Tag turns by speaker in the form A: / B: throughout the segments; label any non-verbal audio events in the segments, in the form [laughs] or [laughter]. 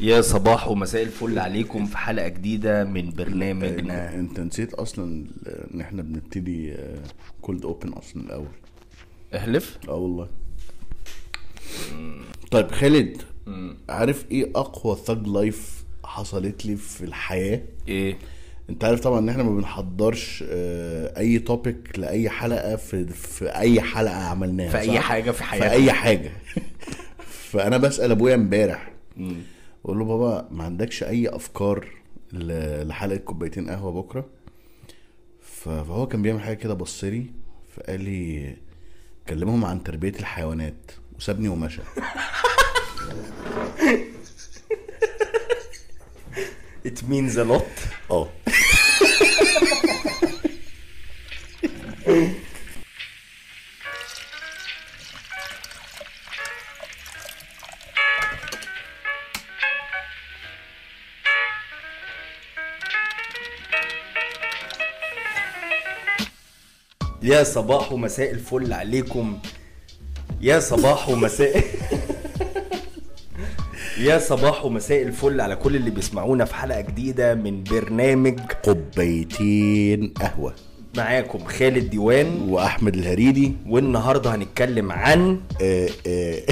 A: يا صباح ومساء الفل عليكم في حلقه جديده من برنامجنا
B: انت نسيت اصلا ان احنا بنبتدي آه، كولد اوبن اصلا الاول
A: احلف
B: اه والله طيب خالد عارف ايه اقوى ثج لايف حصلت لي في الحياه
A: ايه
C: يعني
B: انت عارف طبعا ان احنا ما بنحضرش آه، اي توبيك لاي حلقه في في اي حلقه عملناها
A: في اي
B: صح؟
A: حاجة في
B: في
A: حياتك.
B: اي [laughs] حاجه فانا بسال ابويا امبارح بقول له بابا ما عندكش اي افكار ل- لحلقه كوبايتين قهوه بكره ف- فهو كان بيعمل حاجه كده بص لي فقال لي كلمهم عن تربيه الحيوانات وسابني ومشى
C: It means a lot
B: [laughs] اه
C: يا صباح ومساء الفل عليكم يا صباح ومساء [laughs] يا صباح ومساء الفل على كل اللي بيسمعونا في حلقة جديدة من برنامج
B: كوبايتين قهوه
C: معاكم خالد ديوان
B: واحمد الهريدي
C: والنهاردة هنتكلم عن
B: آه، آه.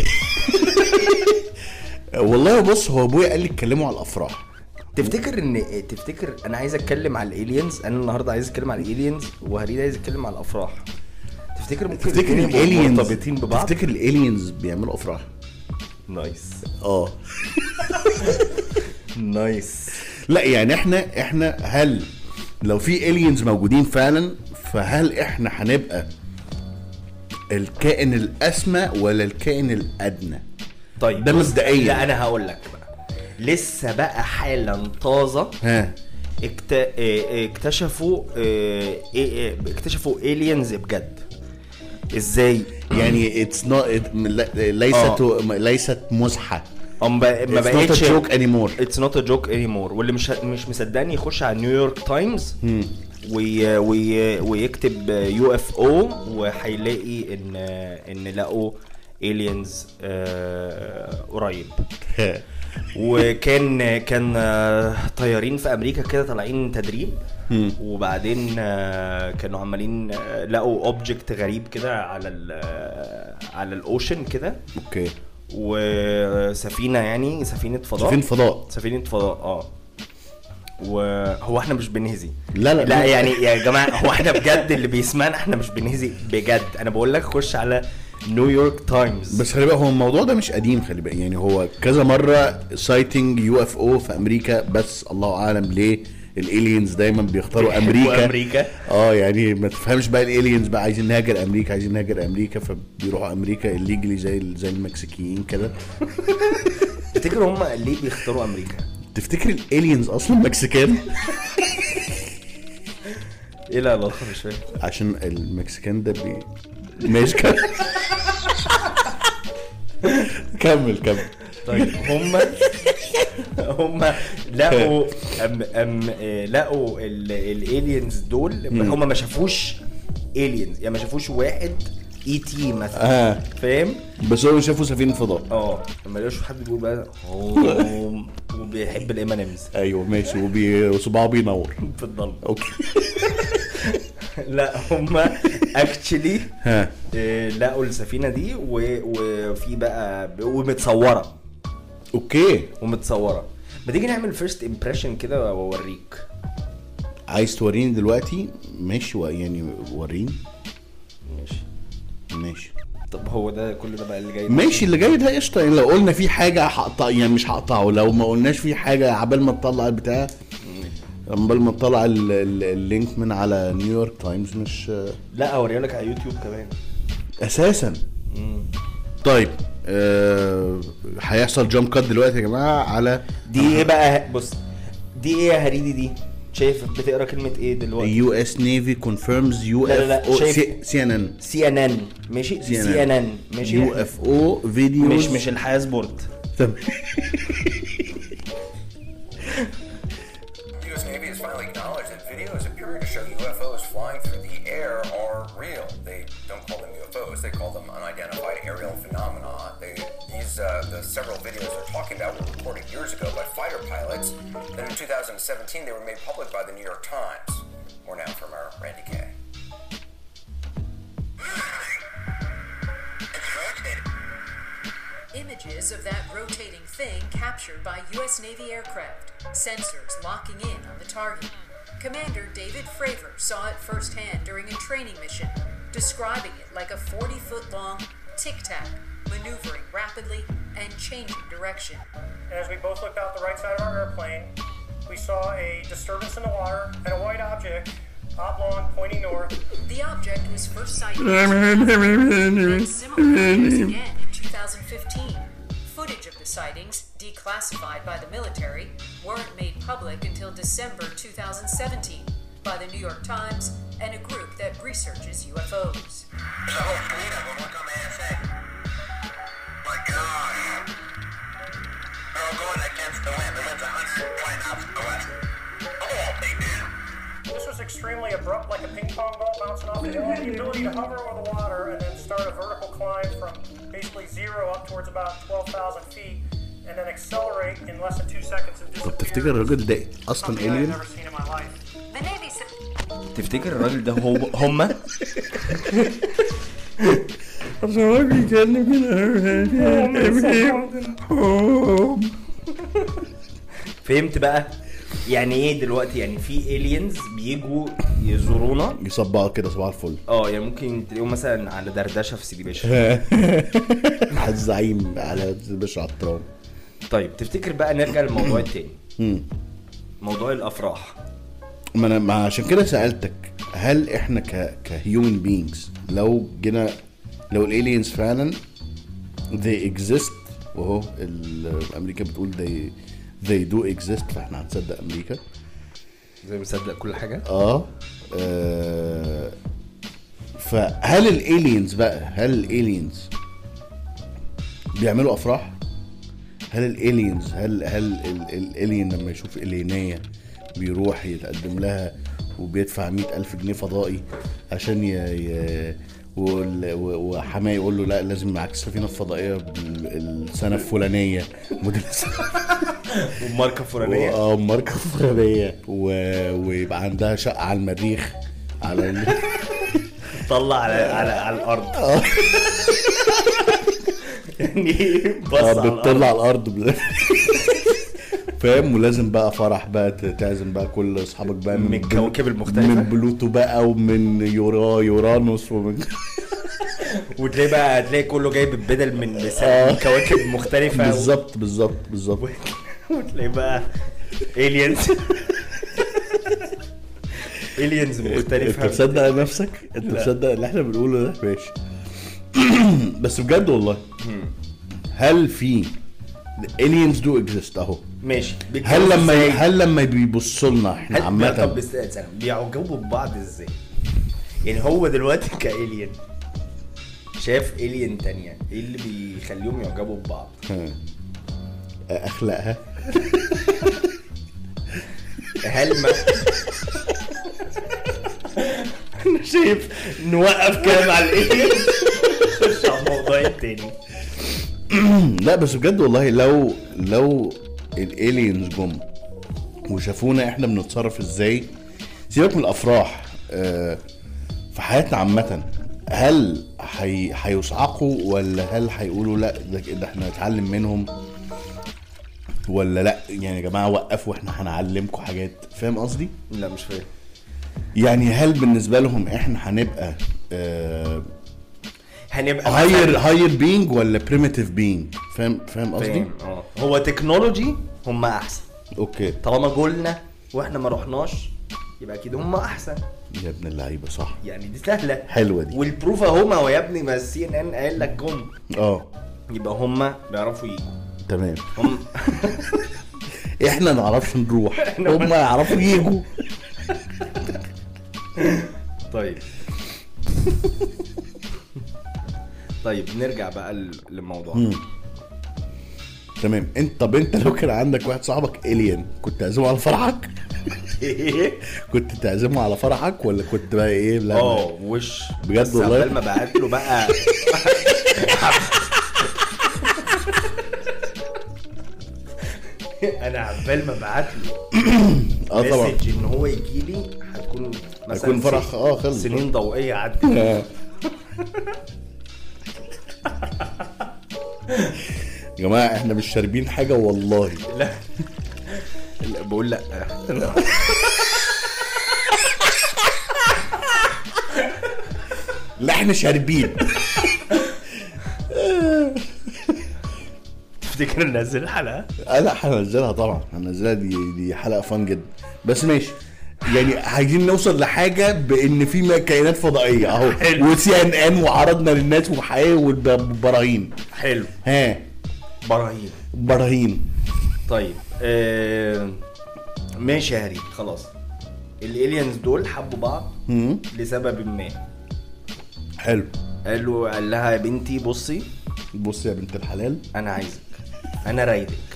B: [laughs] والله بص هو ابويا قال لي اتكلموا على الافراح
C: تفتكر ان تفتكر انا عايز اتكلم على الالينز انا النهارده عايز اتكلم على الالينز وهريد عايز يتكلم على الافراح تفتكر ممكن
B: تفتكر
C: الاتنين يبقوا
B: الالينز
C: مرتبطين ببعض
B: تفتكر الالينز بيعملوا افراح
C: نايس
B: اه
C: نايس
B: لا يعني احنا احنا هل لو في الينز موجودين فعلا فهل احنا هنبقى الكائن الاسمى ولا الكائن الادنى
C: طيب
B: ده مبدئيا.
C: لا انا هقول لك بقى لسه بقى حالا طازه
B: ها
C: اكت... اه، اكتشفوا اه، اه، اكتشفوا الينز بجد ازاي
B: يعني اتس نوت ليست ليست مزحه
C: أم بق... آه. ما
B: It's not a
C: بقتش
B: joke anymore.
C: اتس نوت ا جوك اني مور واللي مش مش مصدقني يخش على نيويورك تايمز وي... وي... ويكتب يو اف او وهيلاقي ان ان لقوا الينز قريب
B: ها.
C: وكان كان آه، طيارين في امريكا كده طالعين تدريب وبعدين آه، كانوا عمالين آه، لقوا اوبجكت غريب كده على ال آه، على الاوشن كده
B: اوكي
C: وسفينه يعني سفينه فضاء
B: سفينة فضاء.
C: سفينه فضاء اه وهو احنا مش بنهزي
B: لا، لا،
C: لا
B: لا.
C: يعني يا جماعه هو احنا بجد اللي بيسمعنا احنا مش بنهزي بجد انا بقول لك خش على نيويورك تايمز
B: بس خلي بالك هو الموضوع ده مش قديم خلي بالك يعني هو كذا مره سايتنج يو اف او في امريكا بس الله اعلم ليه الالينز دايما بيختاروا
C: بيحبوا
B: امريكا
C: أمريكا.
B: اه يعني ما تفهمش بقى الالينز بقى عايزين نهاجر امريكا عايزين نهاجر امريكا فبيروحوا امريكا الليجلي زي ال- زي المكسيكيين كده
C: تفتكر هم ليه بيختاروا امريكا؟
B: تفتكر الالينز اصلا مكسيكان
C: ايه لا لا مش فاهم
B: عشان المكسيكان ده بي ماشي كمل كمل كمل
C: طيب [laughs] هم هم لقوا أم أم آه، لقوا الالينز دول هم ما شافوش الينز يعني ما شافوش واحد اي تي مثلا
B: آه.
C: فاهم؟
B: بس هو شافوا سفينه فضاء
C: اه لما لقوش حد بيقول بقى
B: [laughs]
C: هوم وبيحب الام ان امز
B: ايوه ماشي وبي- وصباعه بينور
C: في الضلمه
B: اوكي
C: لا هم اكشلي
B: ها
C: لقوا السفينه دي و- وفي بقى ومتصوره
B: اوكي
C: ومتصوره ما تيجي نعمل فيرست امبريشن كده واوريك
B: عايز توريني دلوقتي ماشي و- يعني وريني
C: ماشي
B: ماشي
C: طب هو ده كل ده بقى اللي جاي ده؟
B: ماشي اللي جاي ده قشطه يعني لو قلنا في حاجه هقطع يعني مش هقطعه لو ما قلناش في حاجه عبال ما تطلع البتاع عبال ما تطلع ال- ال- اللينك من على نيويورك تايمز مش
C: لا اوريه لك على يوتيوب كمان
B: اساسا طيب آه، هيحصل جامب كات دلوقتي يا جماعه على
C: دي ايه بقى بص دي ايه يا هريدي دي شايف بتقرا كلمه ايه دلوقتي
B: يو اس نيفي كونفيرمز يو
C: لا، لا،
B: اف
C: لا،
B: او
C: شايف-
B: سي ان ان
C: سي ان ان ماشي سي ان ان ماشي
B: يو اف او فيديو
C: مش مش الحياه سبورت
B: تمام
D: U.S. Navy has finally acknowledged that videos appearing to show UFOs flying through the air are real. They don't call them UFOs; they call them unidentified aerial phenomena. They, these uh, the several videos they're talking about were recorded years years ago by fighter pilots. Then in 2017, they were made public by the New York Times. More now from our Randy Kay.
E: Images of that rotating thing captured by U.S. Navy aircraft, sensors locking in on the target. Commander David Fravor saw it firsthand during a training mission, describing it like a 40 foot long tic tac, maneuvering rapidly and changing direction.
F: and as we both looked out the right side of our airplane, we saw a disturbance in the water and a white object, oblong, pointing north,
E: The object was first sighted and similar objects again in 2015. Footage of the sightings, declassified by the military, weren't made public until December 2017 by the New York Times and a group that researches UFOs.
D: There's a whole fleet of them. Look on the NSA. My God. They're all going against the wind. The wind's 120 knots to the west. Look at what they do.
F: This was extremely abrupt, like a ping pong ball bouncing off the hill. The ability to hover over the water and then start a vertical climb from basically zero up towards about 12,000 feet and then accelerate in less than two seconds and
B: [laughs] طب
F: disappear.
B: تفتكر الراجل ده اصلا
F: Something I've
B: alien
F: never seen in my life.
E: The Navy said
A: تفتكر الراجل ده هو هما
B: عشان هو بيتكلم كده
C: فهمت بقى يعني ايه دلوقتي يعني في الينز بيجوا يزورونا
B: يصبعك كده صباح الفل
C: اه يعني ممكن تلاقيهم مثلا على دردشه في سيدي باشا
B: على الزعيم على باشا عطران
C: طيب تفتكر بقى نرجع للموضوع التاني موضوع الافراح
B: ما انا ما عشان كده سالتك هل احنا ك كهيومن بينجز لو جينا لو الالينز فعلا they exist وهو ال- امريكا بتقول they they do exist فاحنا هنصدق امريكا
C: زي مصدق كل حاجه
B: اه آه، فهل الالينز بقى هل الالينز بيعملوا افراح هل الالينز هل هل الالين لما يشوف الينيه بيروح يتقدم لها وبيدفع مئة ألف جنيه فضائي عشان ي... ي... وال- و- وحماه يقول له لا لازم معاك السفينه الفضائيه بال- السنه الفلانيه موديل السنه
C: والماركه الفلانيه
B: اه ماركة فرنية و... ويبقى عندها شقة على المريخ على ال...
C: طلع على على, على الارض
B: اه.
C: يعني إيه؟ بص على
B: آه، بتطلع
C: الارض
B: على الأرض بل... فاهم ولازم بقى فرح بقى ت- تعزم بقى كل أصحابك بقى
C: من
B: بل-
C: الكواكب المختلفة.
B: من بلوتو بقى ومن يورا يورانوس ومن
C: وتلاقي بقى تلاقي كله جايب البدل من لسان كواكب مختلفه
B: اه. بالظبط بالظبط بالظبط
C: وتلاقي بقى الينز الينز
B: انت
C: مختلفه
B: مصدق نفسك؟ انت مصدق اللي احنا بنقوله ده؟ ماشي [clears throat] بس بجد والله هل في aliens do exist اهو
C: ماشي
B: هل لما هل لما بيبصوا لنا احنا
C: هل طب
B: عامة
C: استنى استنى، بيعجبوا ببعض ازاي؟ يعني هو دلوقتي [laughs] كالين شاف الين تانية ايه اللي بيخليهم يعجبوا ببعض؟
B: اخلاقها
C: هل ما [laughs] انا [laughs] شايف نوقف كلام على الالين نخش على الموضوع التاني
B: [laughs] لا بس بجد والله لو لو الالينز جم وشافونا احنا بنتصرف ازاي سيبك من الافراح آه، في حياتنا عامة هل حي... هيصعقوا ولا هل هيقولوا لا ده ده احنا نتعلم منهم ولا لا يعني يا جماعه وقفوا احنا هنعلمكم حاجات فاهم قصدي؟
C: لا مش فاهم
B: يعني هل بالنسبه لهم احنا هنبقى آه
C: هنبقى
B: هاير هاير بينج ولا بريميتيف بينج فاهم فاهم قصدي
C: فاهم، اه هو تكنولوجي هم احسن
B: اوكي
C: طالما جولنا واحنا ما رحناش يبقى اكيد هم احسن
B: يا ابن اللعيبه صح
C: يعني دي سهله
B: حلوه دي
C: والبروف اهو ما هو يا ابني ما السي ان ان قال لك جم
B: اه
C: يبقى هما بيعرفوا يجوا
B: تمام [laughs]
C: هم
B: احنا نعرفش نروح هم يعرفوا يجوا
C: طيب طيب نرجع بقى ل- للموضوع
B: تمام انت طب انت لو كان عندك واحد صاحبك الين كنت تعزمه على فرحك [laughs]
C: إيه؟
B: كنت تعزمه على فرحك ولا كنت بقى ايه لا
C: اه
B: لا.
C: وش
B: بجد
C: بس
B: والله؟
C: عقبال ما بعت له بقى
B: [laughs]
C: [laughs] انا عبال ما ابعت له
B: اه طبعا
C: مسج ان هو يجي لي هتكون مثلا
B: هيكون فرح
C: سن-
B: اه خلص
C: سنين ضوئيه عدت
B: آه. يا جماعه احنا مش شاربين حاجه والله
C: [laughs] لا لا، بقول لا
B: لا احنا شاربين
C: تفتكر ننزل الحلقه
B: آه لا هنزلها طبعا هنزلها دي دي حلقه فان جدا بس ماشي يعني عايزين نوصل لحاجه بان في م- كائنات فضائيه اهو
C: حلو.
B: وسي ان ان وعرضنا للناس وحقيقي والبراهين
C: حلو
B: ها
C: براهين
B: براهين
C: طيب آه ماشي يا هريم خلاص الالينز دول حبوا بعض لسبب ما
B: حلو
C: قال له قال لها يا بنتي بصي
B: بص يا بنت الحلال
C: انا عايزك انا رايدك [laughs]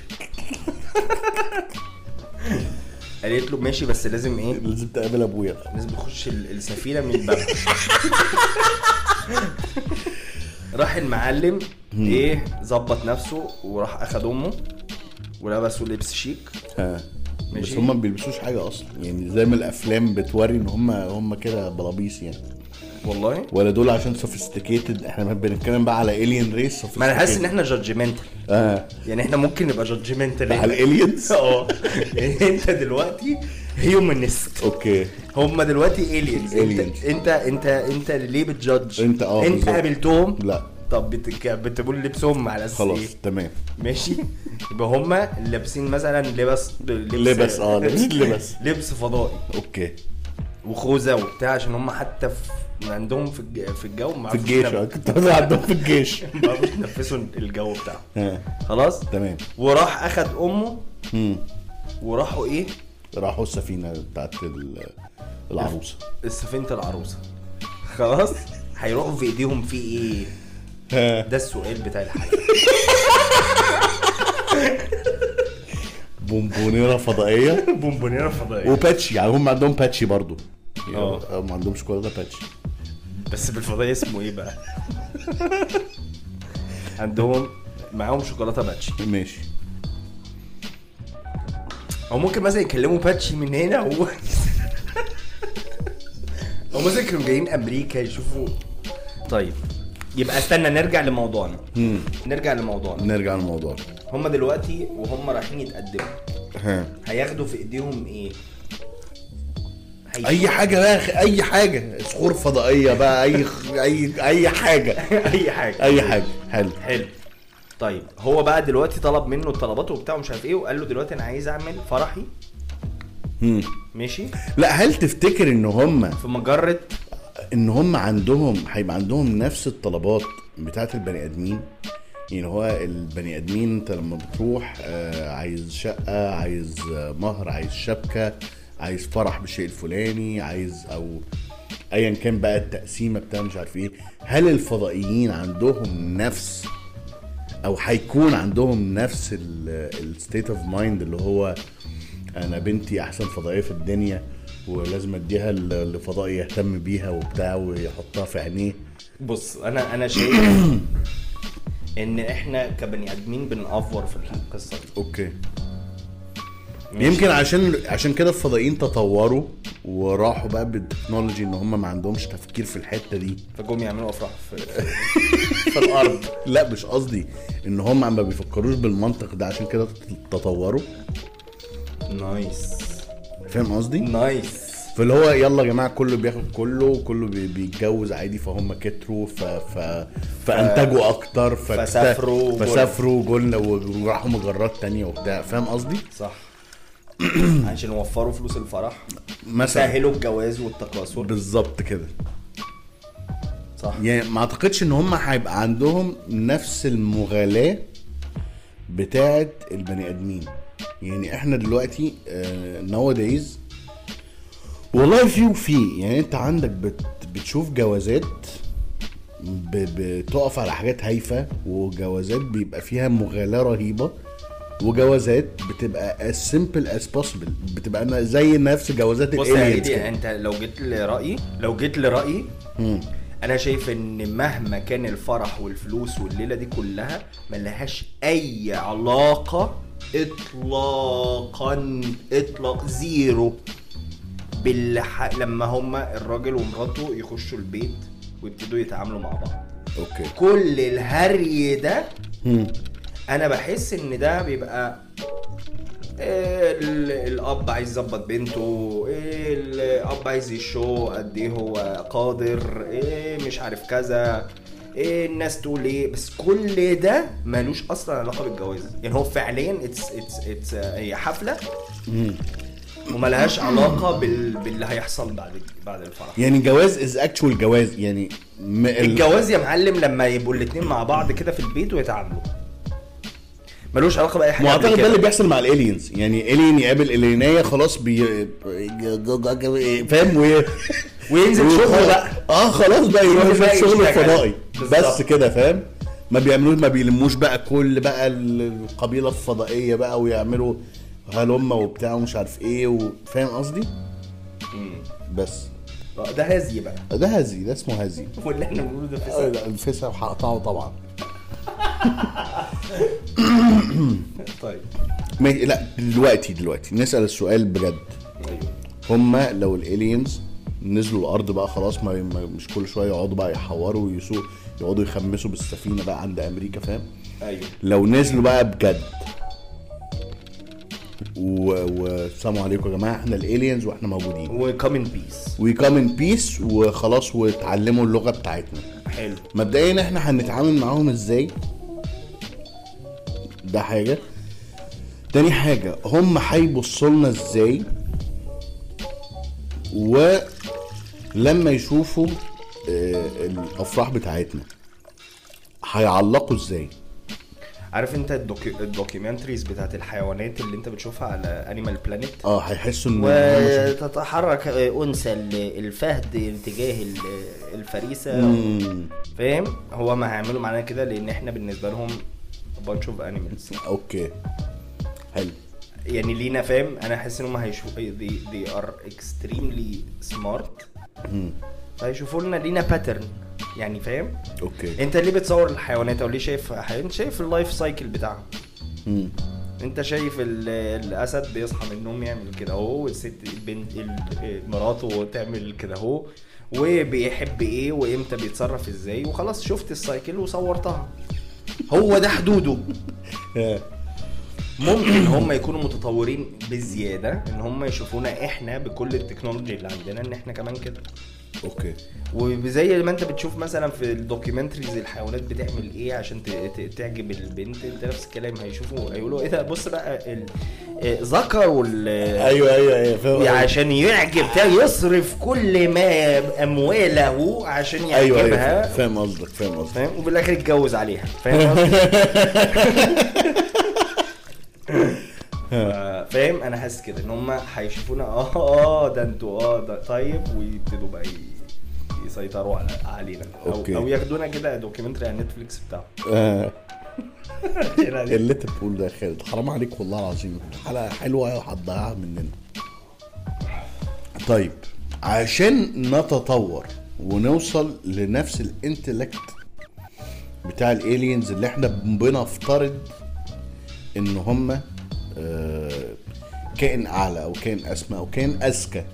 C: قالت له ماشي بس لازم ايه
B: لازم تقابل ابويا
C: الناس بتخش ال- السفينه من الباب راح المعلم ايه ظبط نفسه وراح اخد امه ولبسه لبس شيك
B: ها بس
C: ماشي.
B: هم ما بيلبسوش حاجه اصلا يعني زي ما الافلام بتوري ان هم هم كده بلابيس يعني
C: والله
B: ولا دول عشان سوفيستيكيتد احنا بنتكلم بقى على الين ريس
C: ما انا حاسس ان احنا جادجمنتال
B: اه
C: يعني احنا ممكن نبقى جادجمنتال
B: على
C: [laughs]
B: الالينز
C: اه يعني انت دلوقتي هيومنست
B: اوكي
C: هم دلوقتي الينز
B: Aliens.
C: انت انت انت انت ليه بتجادج
B: أنت اه
C: انت
B: بالظبط.
C: قابلتهم
B: لا.
C: طب بتك... بتقول لبسهم على اساس ايه
B: خلاص تمام
C: ماشي يبقى هما لابسين مثلا لبس لبس
B: لبس، آه، لابسين لبس.
C: لبس فضائي
B: اوكي
C: وخوذه وبتاع عشان هما حتى في عندهم في الج- في الجو ما
B: في
C: عرفوش ينف-
B: الجيش آه، كنت عايز عندهم في الجيش [laughs]
C: ما عرفوش ينفسوا الجو بتاعهم
B: ها
C: خلاص
B: تمام
C: وراح اخد امه
B: مم.
C: وراحوا ايه
B: راحوا السفينه بتاعت ال- العروسه
C: السفينه العروسه خلاص هيروحوا في ايديهم في ايه
B: ها
C: ده السؤال بتاع
B: [laughs]
C: الحلقه
B: بونبونيره فضائيه
C: [laughs] بونبونيره فضائيه
B: وباتشي يعني هم عندهم باتشي برضو يعني
C: آه.
B: هم عندهم شوكولاته باتشي
C: بس بالفضائيه اسمه ايه بقى [laughs] عندهم معاهم شوكولاته باتشي
B: ماشي
C: او ممكن مثلا يكلموا باتشي من هنا [laughs] و... او مثلا كانوا جايين امريكا يشوفوا طيب يبقى استنى نرجع لموضوعنا نرجع لموضوعنا
B: نرجع للموضوع
C: هما دلوقتي وهم رايحين يتقدموا
B: ها
C: هياخدوا في ايديهم ايه هيشوفوا- [laughs]
B: اي حاجه بقى خ- اي حاجه صخور فضائيه بقى اي خ... اي اي حاجه
C: اي حاجه
B: اي حاجه حلو
C: حلو طيب هو بقى دلوقتي طلب منه الطلبات وبتاع ومش عارف ايه وقال له دلوقتي انا عايز اعمل فرحي ماشي
B: لا هل تفتكر ان هم
C: في مجره
B: ان هم عندهم هيبقى عندهم نفس الطلبات بتاعت البني ادمين يعني هو البني ادمين انت لما بتروح آه، عايز شقه عايز آه، مهر عايز شبكه عايز فرح بالشيء الفلاني عايز او ايا كان بقى التقسيمه بتاع مش عارف ايه هل الفضائيين عندهم نفس او هيكون عندهم نفس الستيت اوف مايند اللي هو انا بنتي احسن فضائيه في الدنيا ولازم اديها ل- لفضائي يهتم بيها وبتاع ويحطها في عينيه
C: بص انا انا شايف ان احنا كبني ادمين بنأفور في القصه دي
B: اوكي
C: ماشي؟
B: يمكن عشان عشان كده الفضائيين تطوروا وراحوا بقى بالتكنولوجي ان هم ما عندهمش تفكير في الحته دي
C: فجم يعملوا افراح في
B: في الارض لا مش قصدي ان هم ما بيفكروش بالمنطق ده عشان كده تطوروا
C: نايس
B: فاهم قصدي؟
C: نايس
B: فاللي هو يلا يا جماعه كله بياخد كله كله بي- بيتجوز عادي فهم كتروا ف... ف... فانتجوا اكتر فاكت-
C: فسافروا جل.
B: فسافروا جل و- وراحوا مجرات تانية وبتاع فاهم قصدي؟
C: صح عشان يوفروا فلوس الفرح
B: مثلا
C: سهلوا الجواز والتكاثر
B: بالظبط كده
C: صح
B: يعني ما اعتقدش ان هم هيبقى عندهم نفس المغالاه بتاعه البني ادمين يعني احنا دلوقتي ناو دايز والله في وفي يعني انت عندك بت بتشوف جوازات ب- بتقف على حاجات هايفه وجوازات بيبقى فيها مغالاه رهيبه وجوازات بتبقى as simple as possible بتبقى ن- زي نفس جوازات
C: بص يا يعني
B: الالينز
C: هدي
B: كده
C: انت لو جيت لرايي لو جيت لرايي انا شايف ان مهما كان الفرح والفلوس والليله دي كلها ملهاش اي علاقه اطلاقا اطلاق زيرو بالح... لما هما الراجل ومراته يخشوا البيت ويبتدوا يتعاملوا مع بعض
B: اوكي
C: كل الهري ده
B: هم.
C: انا بحس ان ده بيبقى ال- الاب عايز يظبط بنته الاب عايز يشو قد ايه هو قادر ايه مش عارف كذا ايه الناس تقول ايه بس كل ده ملوش اصلا علاقه بالجواز يعني هو فعليا اتس اتس اتس هي حفله وملهاش علاقه بال... باللي هيحصل بعد بعد الفرح
B: يعني جواز از اكشوال جواز يعني م... ال-
C: الجواز يا معلم لما يبقوا الاتنين مع بعض كده في البيت ويتعاملوا ملوش علاقه باي حاجه قبل
B: معتقد ده
C: كده.
B: اللي بيحصل مع الالينز يعني الين يقابل الينيه خلاص بي فاهم و...
C: وينزل
B: ويخلص-
C: شغله بقى.
B: اه خلاص بقى يروح
C: ينزل بقى
B: يشوف شغل
C: يشتغل.
B: الفضائي
C: بالظبط.
B: بس كده فاهم ما بيعملوش ما بيلموش بقى كل بقى ال- القبيله الفضائيه بقى ويعملوا هلمه وبتاع ومش عارف ايه وفاهم قصدي بس
C: آه، ده هزي بقى [laughs]
B: ده هزي ده اسمه هزي
C: واللي احنا بنقوله ده
B: آه،
C: فساد
B: لا، الفسا وهقطعه طبعا
C: طيب
B: ما- لا دلوقتي دلوقتي نسال السؤال بجد
C: ايوه
B: هما لو الالينز نزلوا الارض بقى خلاص ما ما- مش كل شويه يقعدوا بقى يحوروا ويسوقوا يقعدوا يخمسوا بالسفينه بقى عند امريكا فاهم
C: ايوه
B: لو نزلوا بقى بجد و- والسلام عليكم يا جماعه احنا الالينز واحنا موجودين
C: وكم ان بيس
B: وي كام ان بيس وخلاص واتعلموا اللغه بتاعتنا
C: حلو
B: مبدئيا احنا هنتعامل معاهم ازاي ده حاجه تاني حاجه هم هيبصوا لنا ازاي ولما يشوفوا آه، الافراح بتاعتنا هيعلقوا ازاي
C: عارف انت الدوكي... الدوكيومنتريز بتاعت الحيوانات اللي انت بتشوفها على انيمال بلانيت
B: اه هيحسوا ان هم شايفين-
C: وتتحرك آه، انثى ال- الفهد تجاه ال- الفريسه فاهم هو ما هيعملوا معانا كده لان احنا بالنسبه لهم bunch of animals
B: اوكي حلو
C: يعني لينا فاهم انا حاسس ان هم هيشوفوا they, they are extremely smart فهيشوفوا لنا لينا باترن يعني فاهم
B: اوكي
C: انت ليه بتصور الحيوانات او ليه شايف حيوان شايف اللايف سايكل بتاعهم
B: مم.
C: انت شايف ال- الاسد بيصحى من النوم يعمل كده اهو والست البنت ال- مراته تعمل كده اهو وبيحب ايه وامتى بيتصرف ازاي وخلاص شفت السايكل وصورتها هو ده حدوده
B: آه.
C: ممكن هم يكونوا متطورين بزياده ان هم يشوفونا احنا بكل التكنولوجي اللي عندنا ان احنا كمان كده
B: اوكي
C: وزي ما انت بتشوف مثلا في الدوكيومنتريز الحيوانات بتعمل ايه عشان ت- ت- تعجب البنت انت نفس الكلام هيشوفوا هيقولوا ايه ده بص بقى ال- آه، ذكر وال
B: ايوه ايوه ايوه فاهم قصدك.
C: عشان يعجب تا- يصرف كل ما امواله عشان
B: ايوه ايوه
C: يعجبها
B: فاهم قصدك فاهم قصدك
C: فاهم وفي الاخر يتجوز عليها
B: [laughs]
C: فاهم قصدي؟ آه، فاهم انا حاسس كده ان هم هيشوفونا اه اه ده انتوا اه ده طيب ويبتدوا بقى ي- يسيطروا على علينا او,
B: أوكي.
C: أو ياخدونا كده دوكيومنتري على نتفليكس بتاعهم
B: آه.
C: كده دي.
B: اللي انت بتقوله ده يا خالد حرام عليك والله العظيم حلقه حلوه أوي هتضيعها مننا طيب عشان نتطور ونوصل لنفس الانتلكت بتاع الالينز اللي احنا بنفترض ان هم آه، كائن اعلى او كائن اسمى او كائن اذكى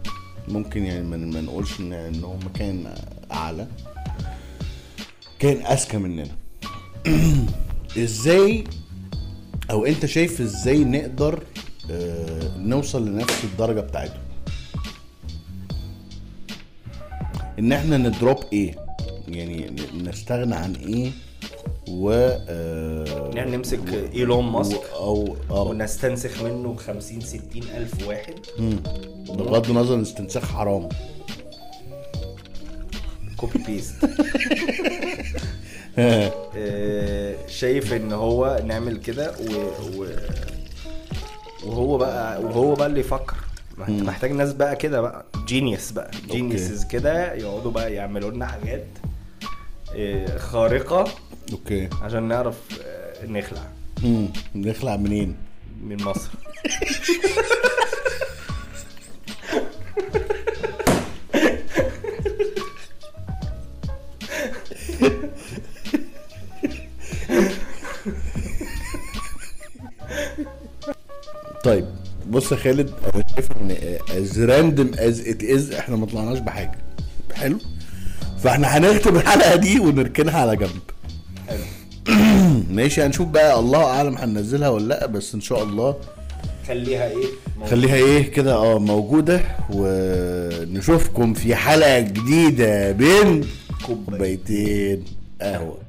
B: ممكن يعني ما ما نقولش ان ان هم كائن اعلى كائن اذكى مننا [clears throat] ازاي او انت شايف ازاي نقدر آه، نوصل لنفس الدرجه بتاعتهم ان احنا ندروب ايه يعني ن- نستغنى عن ايه و آه،
C: [laughs] يعني نمسك ايلون ماسك
B: او اه
C: ونستنسخ منه 50 60 الف واحد
B: بغض النظر ان الاستنساخ حرام
C: كوبي بيست [laughs] آه، شايف ان هو نعمل كده و... و... وهو بقى وهو بقى اللي يفكر ما انت محتاج ناس بقى كده بقى جينيوس بقى جينيوسز كده يقعدوا بقى يعملوا لنا حاجات آه، خارقه
B: اوكي
C: عشان نعرف آه، نخلع
B: امم نخلع منين
C: من مصر
B: طيب، بص يا خالد انا شايف ان از راندم از ات از احنا ما طلعناش بحاجه حلو فاحنا هنختم الحلقه دي ونركنها على جنب حلو ماشي هنشوف بقى الله اعلم هننزلها ولا لا بس ان شاء الله
C: خليها ايه
B: خليها ايه كده اه موجوده ونشوفكم في حلقه جديده بين كوبايتين قهوه